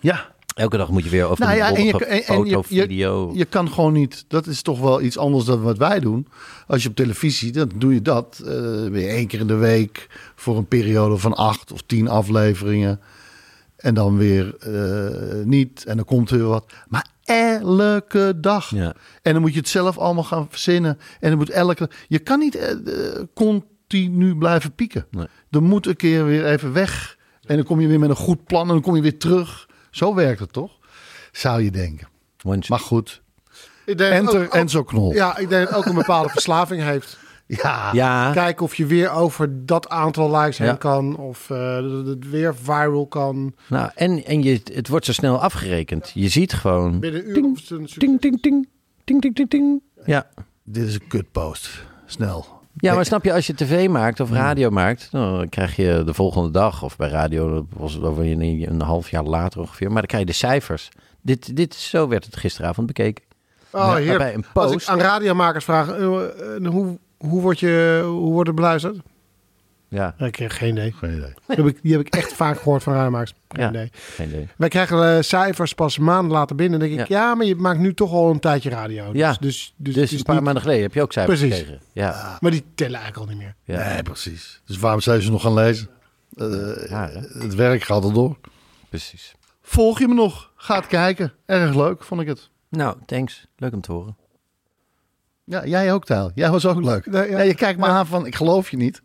Ja.
Elke dag moet je weer over
Nou ja, en je,
een
en- en
foto,
je, je-
video.
je kan gewoon niet, dat is toch wel iets anders dan wat wij doen. Als je op televisie, dan doe je dat eh, weer één keer in de week voor een periode van acht of tien afleveringen. En dan weer eh, niet. En dan komt er weer wat. Maar elke dag.
Ja.
En dan moet je het zelf allemaal gaan verzinnen. En dan moet elke. Je kan niet eh, eh, continu blijven pieken.
Nee.
Er moet een keer weer even weg. En dan kom je weer met een goed plan. En dan kom je weer terug. Zo werkt het toch? Zou je denken.
Want-
Maar goed.
Ik denk
Enter
ook- ook-
Enzo Knol.
Oh, Ja, ik denk dat het ook een bepaalde verslaving heeft.
Ja.
ja,
Kijken of je weer over dat aantal likes
Ja.
heen kan. Of eh, dat het weer viral kan.
nou, en, en je, het wordt zo snel afgerekend. Je ziet gewoon...
Binnen een uur
Ting,
of het een succes.
ting, ting, ting, ting, ting, ting, ting. Ja.
Dit is een kutpost. Snel.
ja, maar snap je, als je tv maakt of radio maakt... nou, dan krijg je de volgende dag, of bij radio dat was het over een, een half jaar later ongeveer... maar dan krijg je de cijfers. Dit, dit, zo werd het gisteravond bekeken.
Oh, heerlijk.
Waarbij een
Als ik
post-
aan radiomakers vraag, eh, eh, hoe, hoe, word je, hoe wordt het beluisterd?
Ja,
Ik heb geen idee.
Geen idee.
Die heb ik, die heb ik echt vaak gehoord van radiomakers. Geen
Ja.
idee.
geen idee.
Wij krijgen eh, cijfers pas maanden later binnen. Dan denk ik, ja. maar je maakt nu toch al een tijdje radio.
Ja.
Dus, dus, dus,
Dus,
het is
een paar
niet-
maanden geleden heb je ook cijfers
Precies. Ah,
gekregen. Ja,
Maar die tellen eigenlijk al niet meer.
ja.
Nee, precies. Dus waarom zou je ze nog gaan lezen? Eh,
Ja, hè?
het werk gaat er door.
precies.
Volg je me nog? Ga het kijken. Erg leuk, vond ik het.
Nou, thanks. Leuk om te horen.
Ja, jij ook, Taal. Jij was ook leuk.
Nee, ja.
ja. je kijkt me aan van, ik geloof je niet.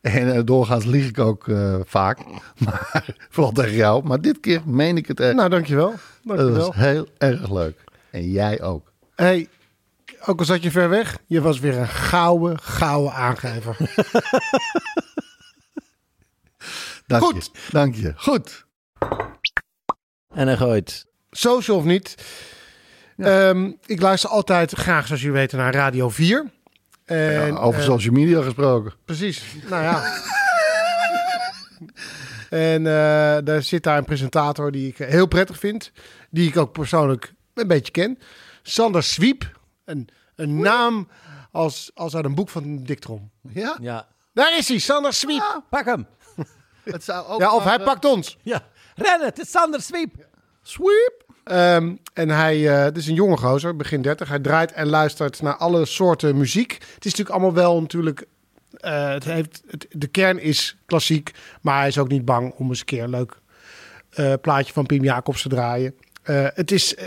En eh, doorgaans lieg ik ook eh, vaak. Maar, vooral tegen jou. Maar dit keer meen ik het echt.
Nou, dankjewel.
dat
dankjewel.
was heel erg leuk. En jij ook.
Hey, Ook al zat je ver weg, je was weer een gouden, gouden aangever.
Dank
Goed.
Je. Dank je. Goed.
En hij gooit.
Social of niet. Ehm, ik luister altijd graag, zoals jullie weten, naar Radio 4. En,
Ja, over
eh,
social media gesproken.
Precies. Nou ja. en eh, daar zit daar een presentator die ik eh, heel prettig vind. Die ik ook persoonlijk een beetje ken. Sander Swiep. Een, een naam als, als uit een boek van Dick Trom.
Ja?
Ja.
Daar is hij, Sander Swiep.
Pak hem.
Het zou ook
Ja, of
maar,
hij
eh,
pakt ons.
Ja. Rennen, het is Sander Sweep.
Sweep. en hij, eh, het is een jonge gozer, begin 30. Hij draait en luistert naar alle soorten muziek. Het is natuurlijk allemaal wel natuurlijk. eh, het heeft, het- de kern is klassiek, maar hij is ook niet bang om eens een keer een leuk eh, plaatje van Pim Jacobs te draaien. Eh, het is eh,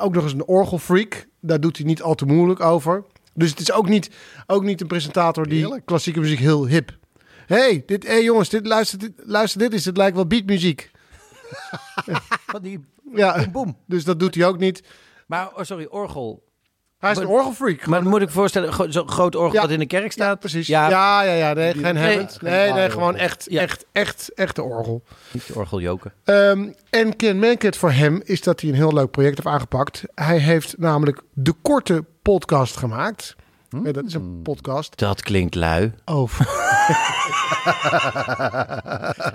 ook nog eens een orgelfreak. Daar doet hij niet al te moeilijk over. Dus het is ook niet, ook niet een presentator die
Heerlijk.
klassieke muziek heel hip. hey, dit, hey jongens, dit, luister, dit, luister dit is. Het lijkt wel beatmuziek.
Van die...
Ja,
boem.
dus dat doet hij ook niet.
Maar, oh, sorry, orgel.
Hij is een orgelfreak.
Maar moet ik voorstellen, gro- zo'n groot orgel
Ja.
dat in de kerk staat?
Ja, precies. Ja,
Ja,
ja, ja. nee, geen Hammond.
geen
Nee, nee,
orgel.
gewoon echt,
Ja.
echt, echt, echt de orgel.
niet de orgeljoker.
Ehm, en Ken Mankett voor hem is dat hij een heel leuk project heeft aangepakt. Hij heeft namelijk de korte podcast gemaakt. Ja, dat is een podcast
Dat klinkt lui.
over...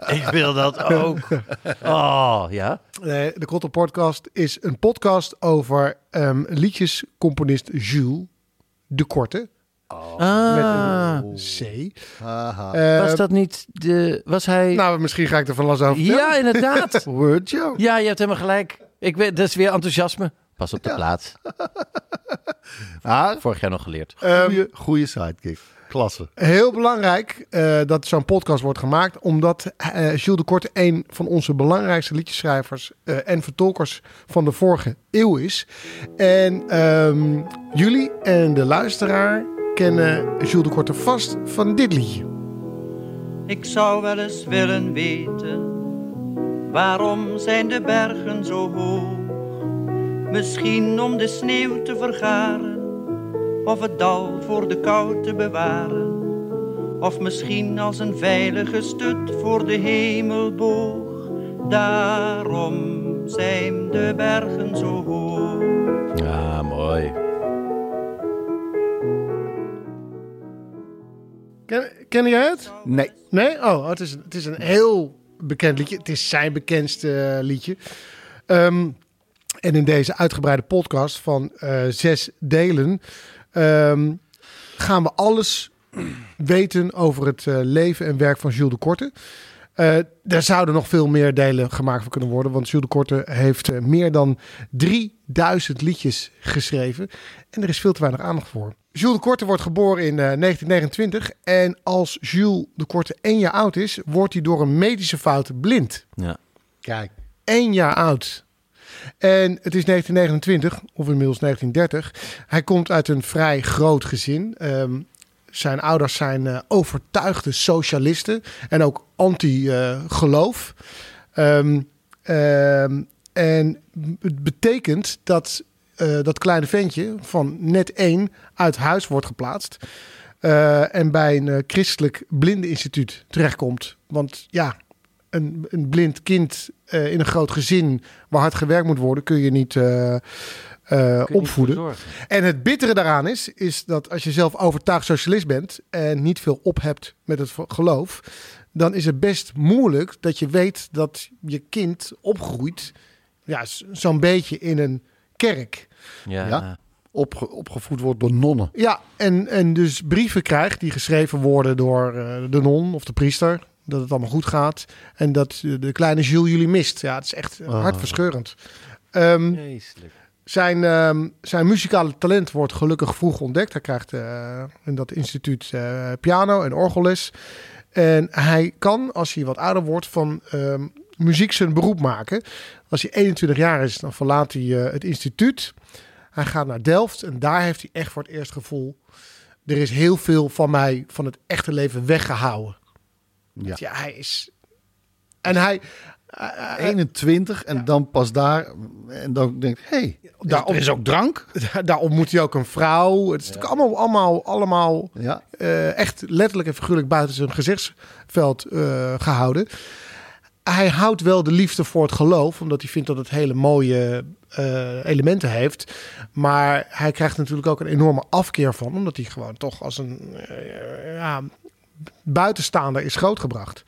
Ik wil dat ook. Oh, ja.
Nee, de korte podcast is een podcast over ehm, liedjescomponist Jules de Korte.
Oh. Ah,
C.
was dat niet de... Was hij...
Eh, Nou, misschien ga ik er van last over vertellen.
ja, inderdaad.
Word joke.
Ja, je hebt helemaal gelijk. Ik ben, dat is weer enthousiasme. Pas op de plaats.
Ah,
Vorig jaar nog geleerd.
goeie- goeie sidekick. Klasse.
Heel belangrijk eh, dat zo'n podcast wordt gemaakt, omdat eh Jules de Korte een van onze belangrijkste liedjeschrijvers eh, en vertolkers van de vorige eeuw is. En ehm, jullie en de luisteraar kennen Jules de Korte vast van dit liedje.
Ik zou wel eens willen weten, waarom zijn de bergen zo hoog? Misschien om de sneeuw te vergaren, of het dal voor de kou te bewaren. Of misschien als een veilige stut voor de hemelboog. Daarom zijn de bergen zo hoog.
Ja, Ah, mooi.
Ken, ken jij het?
Nee.
Nee? Oh, het is, het is een heel bekend liedje. Het is zijn bekendste eh, liedje. Ehm, en in deze uitgebreide podcast van eh, zes delen ehm, gaan we alles weten over het eh, leven en werk van Jules de Korte. Eh daar zouden nog veel meer delen gemaakt van kunnen worden. Want Jules de Korte heeft eh, meer dan 3000 liedjes geschreven. En er is veel te weinig aandacht voor. Jules de Korte wordt geboren in eh, 1929. En als Jules de Korte één jaar oud is, wordt hij door een medische fout blind.
Ja.
Kijk.
Eén jaar oud. En het is 1929, of inmiddels 1930. Hij komt uit een vrij groot gezin. Ehm, zijn ouders zijn eh, overtuigde socialisten en ook eh, anti-geloof. Ehm, ehm, en het betekent dat eh, dat kleine ventje van net één uit huis wordt geplaatst. eh, en bij een eh, christelijk blindeninstituut terechtkomt. Want ja, een, een blind kind eh, in een groot gezin waar hard gewerkt moet worden, kun je niet eh, eh, opvoeden. En het bittere daaraan is, is dat als je zelf overtuigd socialist bent en niet veel op hebt met het geloof, dan is het best moeilijk dat je weet dat je kind opgroeit, ja, z- zo'n beetje in een kerk.
Ja.
Ja. Opge- opgevoed wordt door nonnen.
Ja, en, en dus brieven krijgt die geschreven worden door eh, de non of de priester. Dat het allemaal goed gaat. En dat eh, de kleine Jules jullie mist. Ja, het is echt hartverscheurend. Ehm,
Vreselijk.
zijn, ehm, zijn muzikale talent wordt gelukkig vroeg ontdekt. Hij krijgt eh, in dat instituut eh, piano en orgelles. En hij kan, als hij wat ouder wordt, van ehm, muziek zijn beroep maken. Als hij 21 jaar is, dan verlaat hij eh, het instituut. Hij gaat naar Delft en daar heeft hij echt voor het eerst gevoel... er is heel veel van mij, van het echte leven weggehouden.
Ja.
Ja, hij is... En hij,
21 en dan pas daar. En dan denk ik, hey,
Daar
er is ook drank.
Daar ontmoet hij ook een vrouw. Het is natuurlijk allemaal, allemaal, allemaal
Ja.
eh, echt letterlijk en figuurlijk buiten zijn gezichtsveld eh, gehouden. Hij houdt wel de liefde voor het geloof, omdat hij vindt dat het hele mooie eh, elementen heeft. Maar hij krijgt natuurlijk ook een enorme afkeer van, omdat hij gewoon toch als een eh, ja, buitenstaander is grootgebracht.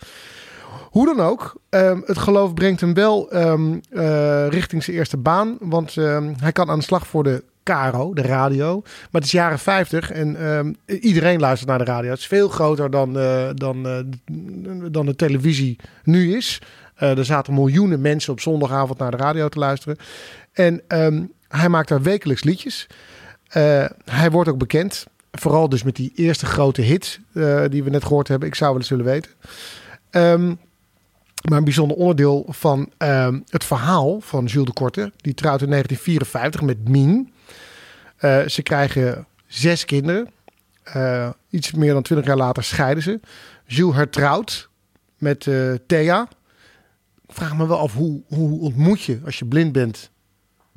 Hoe dan ook, ehm, het geloof brengt hem wel ehm, eh, richting zijn eerste baan. Want ehm, hij kan aan de slag voor de Caro, de radio. Maar het is jaren 50 en ehm, iedereen luistert naar de radio. Het is veel groter dan, eh, dan, eh, dan de televisie nu is. Eh, er zaten miljoenen mensen op zondagavond naar de radio te luisteren. En ehm, hij maakt daar wekelijks liedjes. Eh, hij wordt ook bekend. Vooral dus met die eerste grote hit eh, die we net gehoord hebben. Ik zou wel eens willen weten. Ehm, maar een bijzonder onderdeel van ehm, het verhaal van Jules de Korte. Die trouwt in 1954 met Mien. Eh, ze krijgen zes kinderen. Eh, iets meer dan twintig jaar later scheiden ze. Jules hertrouwt met eh, Thea. Ik vraag me wel af, hoe, hoe ontmoet je als je blind bent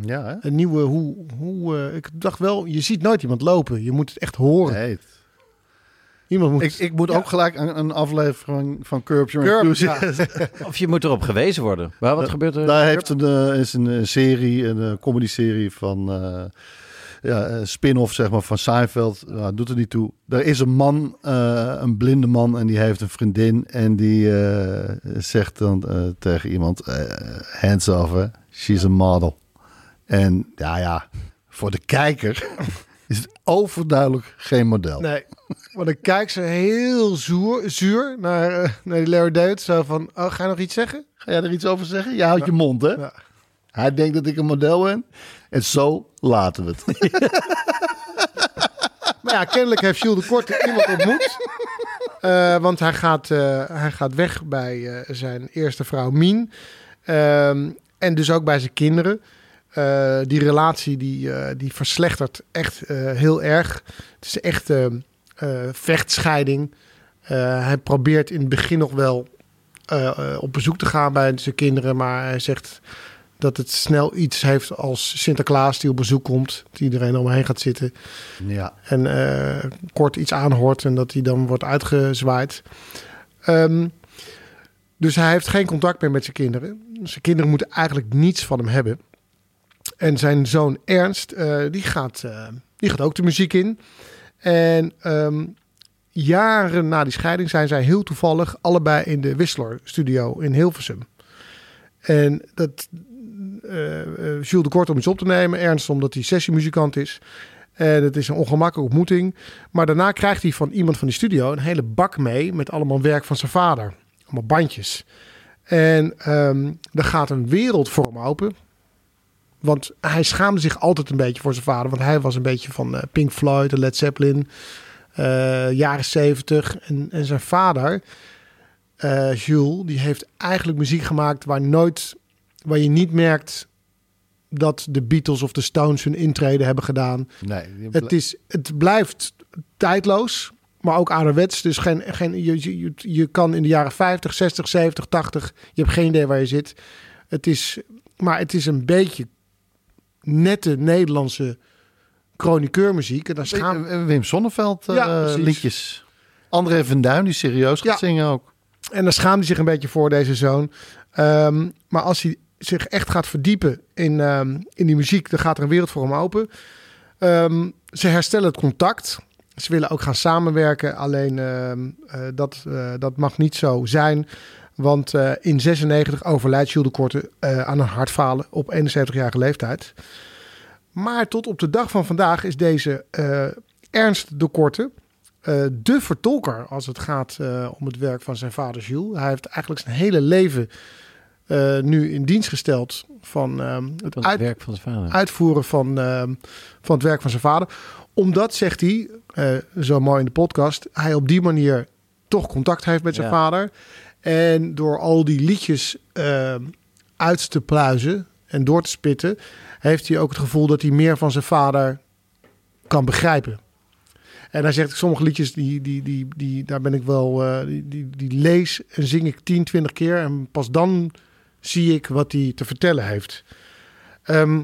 Ja, hè?
een nieuwe... Hoe, hoe, eh, ik dacht wel, je ziet nooit iemand lopen. Je moet het echt horen.
Nee, het-
Iemand moet...
Ik, ik moet ook gelijk aan een aflevering van Curb Your
Curb,
Enthusiasm.
Of je moet erop gewezen worden. Maar wat gebeurt er?
Daar heeft een, eh, is een eh, serie, een eh, comedy-serie van eh, ja, eh, spin-off zeg maar, van Seinfeld. Nou, doet er niet toe. Er is een man, eh, een blinde man, en die heeft een vriendin. En die eh, zegt dan eh, tegen iemand, eh, hands off, hè. she's a model. En ja, ja, voor de kijker is het overduidelijk geen model.
Nee. Want dan kijkt ze heel zuur, zuur naar, eh, naar die Larry David. Zo van, oh, ga je nog iets zeggen?
Ga jij er iets over zeggen? Je houdt je mond, hè?
Ja.
Hij denkt dat ik een model ben. En zo laten we het.
Maar ja, kennelijk heeft Jules de Korte iemand ontmoet. Eh, want hij gaat, eh, hij gaat weg bij eh, zijn eerste vrouw Mien. Ehm, en dus ook bij zijn kinderen. Eh, die relatie die, eh, die verslechtert echt eh, heel erg. Het is echt eh, eh, vechtscheiding. Eh, hij probeert in het begin nog wel eh, eh, op bezoek te gaan bij zijn kinderen. Maar hij zegt dat het snel iets heeft als Sinterklaas die op bezoek komt. Dat iedereen om hem heen gaat zitten
Ja.
en eh, kort iets aanhoort en dat hij dan wordt uitgezwaaid. Ehm, dus hij heeft geen contact meer met zijn kinderen. Zijn kinderen moeten eigenlijk niets van hem hebben. En zijn zoon Ernst, eh, die, gaat, eh, die gaat ook de muziek in. En ehm, jaren na die scheiding zijn zij heel toevallig allebei in de Whistler studio in Hilversum. En dat eh, eh, Jules de Kort om iets op te nemen, Ernst omdat hij sessiemuzikant is. En het is een ongemakkelijke ontmoeting. Maar daarna krijgt hij van iemand van die studio een hele bak mee met allemaal werk van zijn vader. Allemaal bandjes. En ehm er gaat een wereld voor hem open. Want hij schaamde zich altijd een beetje voor zijn vader. Want hij was een beetje van eh, Pink Floyd en Led Zeppelin. eh, jaren zeventig. En, en zijn vader, eh, Jules, die heeft eigenlijk muziek gemaakt waar, nooit, waar je niet merkt dat de Beatles of de Stones hun intrede hebben gedaan.
Nee.
Het, is, het blijft tijdloos, maar ook ouderwets. Dus geen, geen, je, je- je, je kan in de jaren 50, 60, 70, 80... Je hebt geen idee waar je zit. Het is, maar het is een beetje nette Nederlandse chroniqueurmuziek. En daar schaam...
Eh, Wim Sonneveld eh,
Ja, precies.
liedjes. André van Duin, die serieus gaat
Ja.
zingen ook.
En daar schaamt hij zich een beetje voor, deze zoon. Ehm, maar als hij zich echt gaat verdiepen in, ehm, in die muziek, dan gaat er een wereld voor hem open. Ehm, ze herstellen het contact. Ze willen ook gaan samenwerken, alleen ehm, eh, dat, eh, dat mag niet zo zijn. Want eh, in 96 overlijdt Jules de Korte eh, aan een hartfalen op 71-jarige leeftijd. Maar tot op de dag van vandaag is deze eh, Ernst de Korte eh, de vertolker als het gaat eh, om het werk van zijn vader Jules. Hij heeft eigenlijk zijn hele leven eh, nu in dienst gesteld van ehm, het,
Van het
uit,
werk van zijn vader.
uitvoeren van, ehm, van het werk van zijn vader. Omdat, zegt hij, eh, zo mooi in de podcast, hij op die manier toch contact heeft met zijn
Ja.
vader. En door al die liedjes ehm, uit te pluizen en door te spitten, heeft hij ook het gevoel dat hij meer van zijn vader kan begrijpen. En hij zegt, sommige liedjes, die, die, die, die, daar ben ik wel, eh, die, die, die lees en zing ik 10, 20 keer. En pas dan zie ik wat hij te vertellen heeft. Ehm,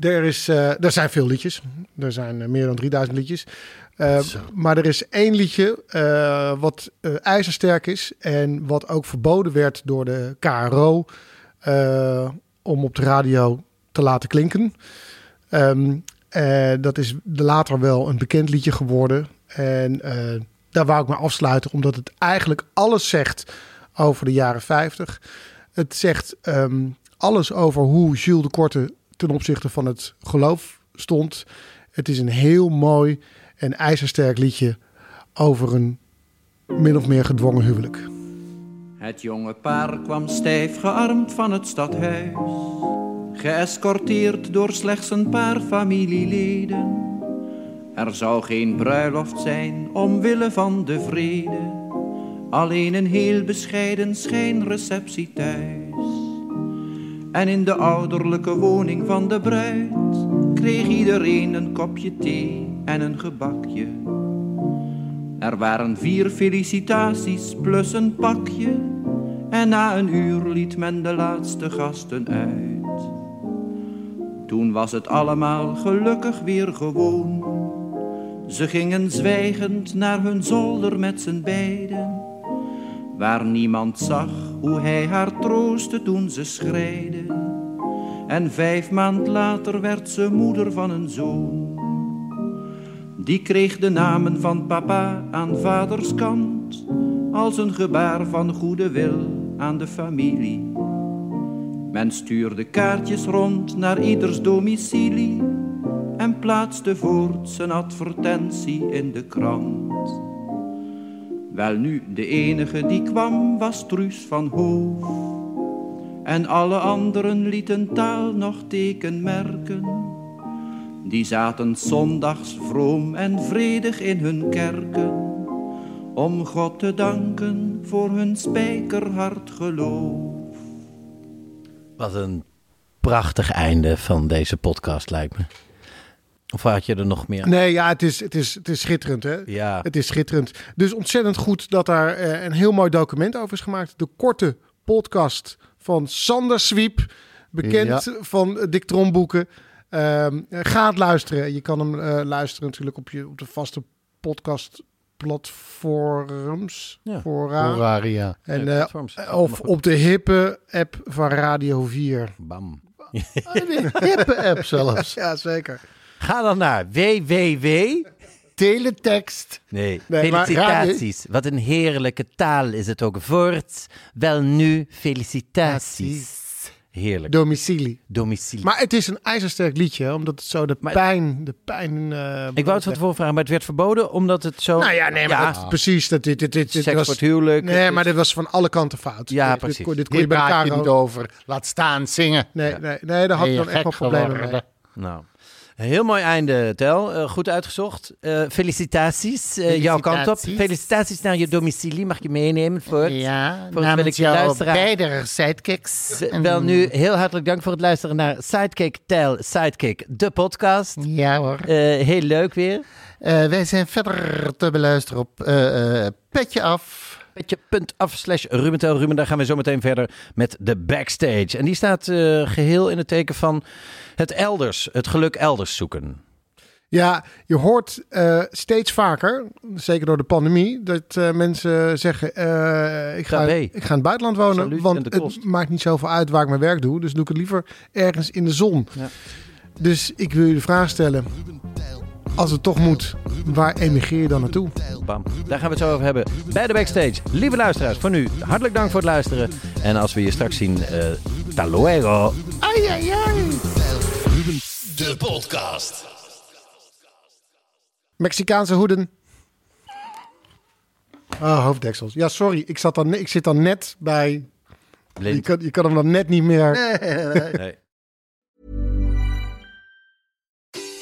er, is, eh, er zijn veel liedjes. Er zijn eh, meer dan 3000 liedjes. Eh, maar er is één liedje eh, wat eh, ijzersterk is. En wat ook verboden werd door de KRO. eh, om op de radio te laten klinken. Ehm, eh, dat is later wel een bekend liedje geworden. En eh, daar wou ik me afsluiten, omdat het eigenlijk alles zegt over de jaren 50. Het zegt ehm, alles over hoe Jules de Korte ten opzichte van het geloof stond. Het is een heel mooi en ijzersterk liedje over een min of meer gedwongen huwelijk.
Het jonge paar kwam stijf gearmd van het stadhuis, geëscorteerd door slechts een paar familieleden. Er zou geen bruiloft zijn omwille van de vrede, alleen een heel bescheiden schijnreceptie thuis. En in de ouderlijke woning van de bruid kreeg iedereen een kopje thee en een gebakje. Er waren vier felicitaties plus een pakje. En na een uur liet men de laatste gasten uit. Toen was het allemaal gelukkig weer gewoon. Ze gingen zwijgend naar hun zolder met z'n beiden. Waar niemand zag hoe hij haar troostte toen ze schreide. En vijf maand later werd ze moeder van een zoon. Die kreeg de namen van papa aan vaders kant als een gebaar van goede wil aan de familie. Men stuurde kaartjes rond naar ieders domicilie en plaatste voort zijn advertentie in de krant. Welnu, de enige die kwam was Truus van Hoof en alle anderen lieten taal nog tekenmerken. Die zaten zondags vroom en vredig in hun kerken, om God te danken voor hun spijkerhard geloof.
Wat een prachtig einde van deze podcast, lijkt me. Of had je er nog meer?
Nee, ja, het is, het is, het is schitterend, hè?
Ja.
Het is schitterend. Dus ontzettend goed dat daar eh, een heel mooi document over is gemaakt. De korte podcast van Sander Swiep. Bekend van eh, Dick Tromboeken. Ehm, ga het luisteren. Je kan hem eh, luisteren natuurlijk op, je, op de vaste podcastplatforms.
Ja.
Fora.
Horaria.
En,
Ja,
eh,
platforms.
of op de hippe app van Radio 4.
Bam.
Hippe app zelfs.
Ja, zeker.
Ga dan naar www.
Teletext.
Nee,
maar
felicitaties. Wat een heerlijke taal is het ook. Voorts, wel nu, felicitaties. Heerlijk.
Domicilie.
Domicilie.
Maar het is een ijzersterk liedje, hè, omdat het zo de
Maar-
pijn, de pijn. eh,
ik wou het van tevoren vragen, maar het werd verboden omdat het zo...
Nou ja, nee, maar
Ja,
dat- precies. Dat, dit, dit, dit, dit
seks
was,
voor het huwelijk.
Nee, maar dit was van alle kanten fout.
Ja,
Dit- dit,
precies.
kon- Dit kon je
Hier
bij
praat je
elkaar
niet over. Laat staan zingen.
Nee, nee, nee, daar had
Ben
ik
je
dan echt wel
gek
problemen mee.
geworden?
Nou, heel mooi einde, Tel. Eh, goed uitgezocht. Eh, felicitaties, eh, jouw kant op.
Felicitaties.
Felicitaties naar je domicilie, mag je meenemen voor
Ja,
wil ik
namens
de
jouw
luisteraar-
beide sidekicks. En-
Wel nu, heel hartelijk dank voor het luisteren naar Sidekick Tel, Sidekick, de podcast.
Ja hoor.
Eh, heel leuk weer.
Eh, wij zijn verder te beluisteren op eh, eh, Petje Af.
Petje.af slash Rubentel. Ruben, daar gaan we zo meteen verder met de backstage. En die staat eh, geheel in het teken van het elders, het geluk elders zoeken.
Ja, je hoort eh, steeds vaker, zeker door de pandemie, dat eh, mensen zeggen: eh, ik,
Ga
ga,
mee.
ik ga in het buitenland wonen,
Saluut en
want
de kost.
het maakt niet zoveel uit waar ik mijn werk doe. Dus doe ik het liever ergens in de zon.
Ja.
Dus ik wil je de vraag stellen: als het toch moet, waar emigreer je dan naartoe?
Bam. Daar gaan we het zo over hebben bij de backstage. Lieve luisteraars, voor nu hartelijk dank voor het luisteren. En als we je straks zien, eh hasta luego.
Mexicaanse hoeden. Ah, hoofddeksels. Ja, sorry. Ik, zat dan, ik zit dan net bij... Je
Blind.
kan, je kan hem dan net niet meer...
Nee.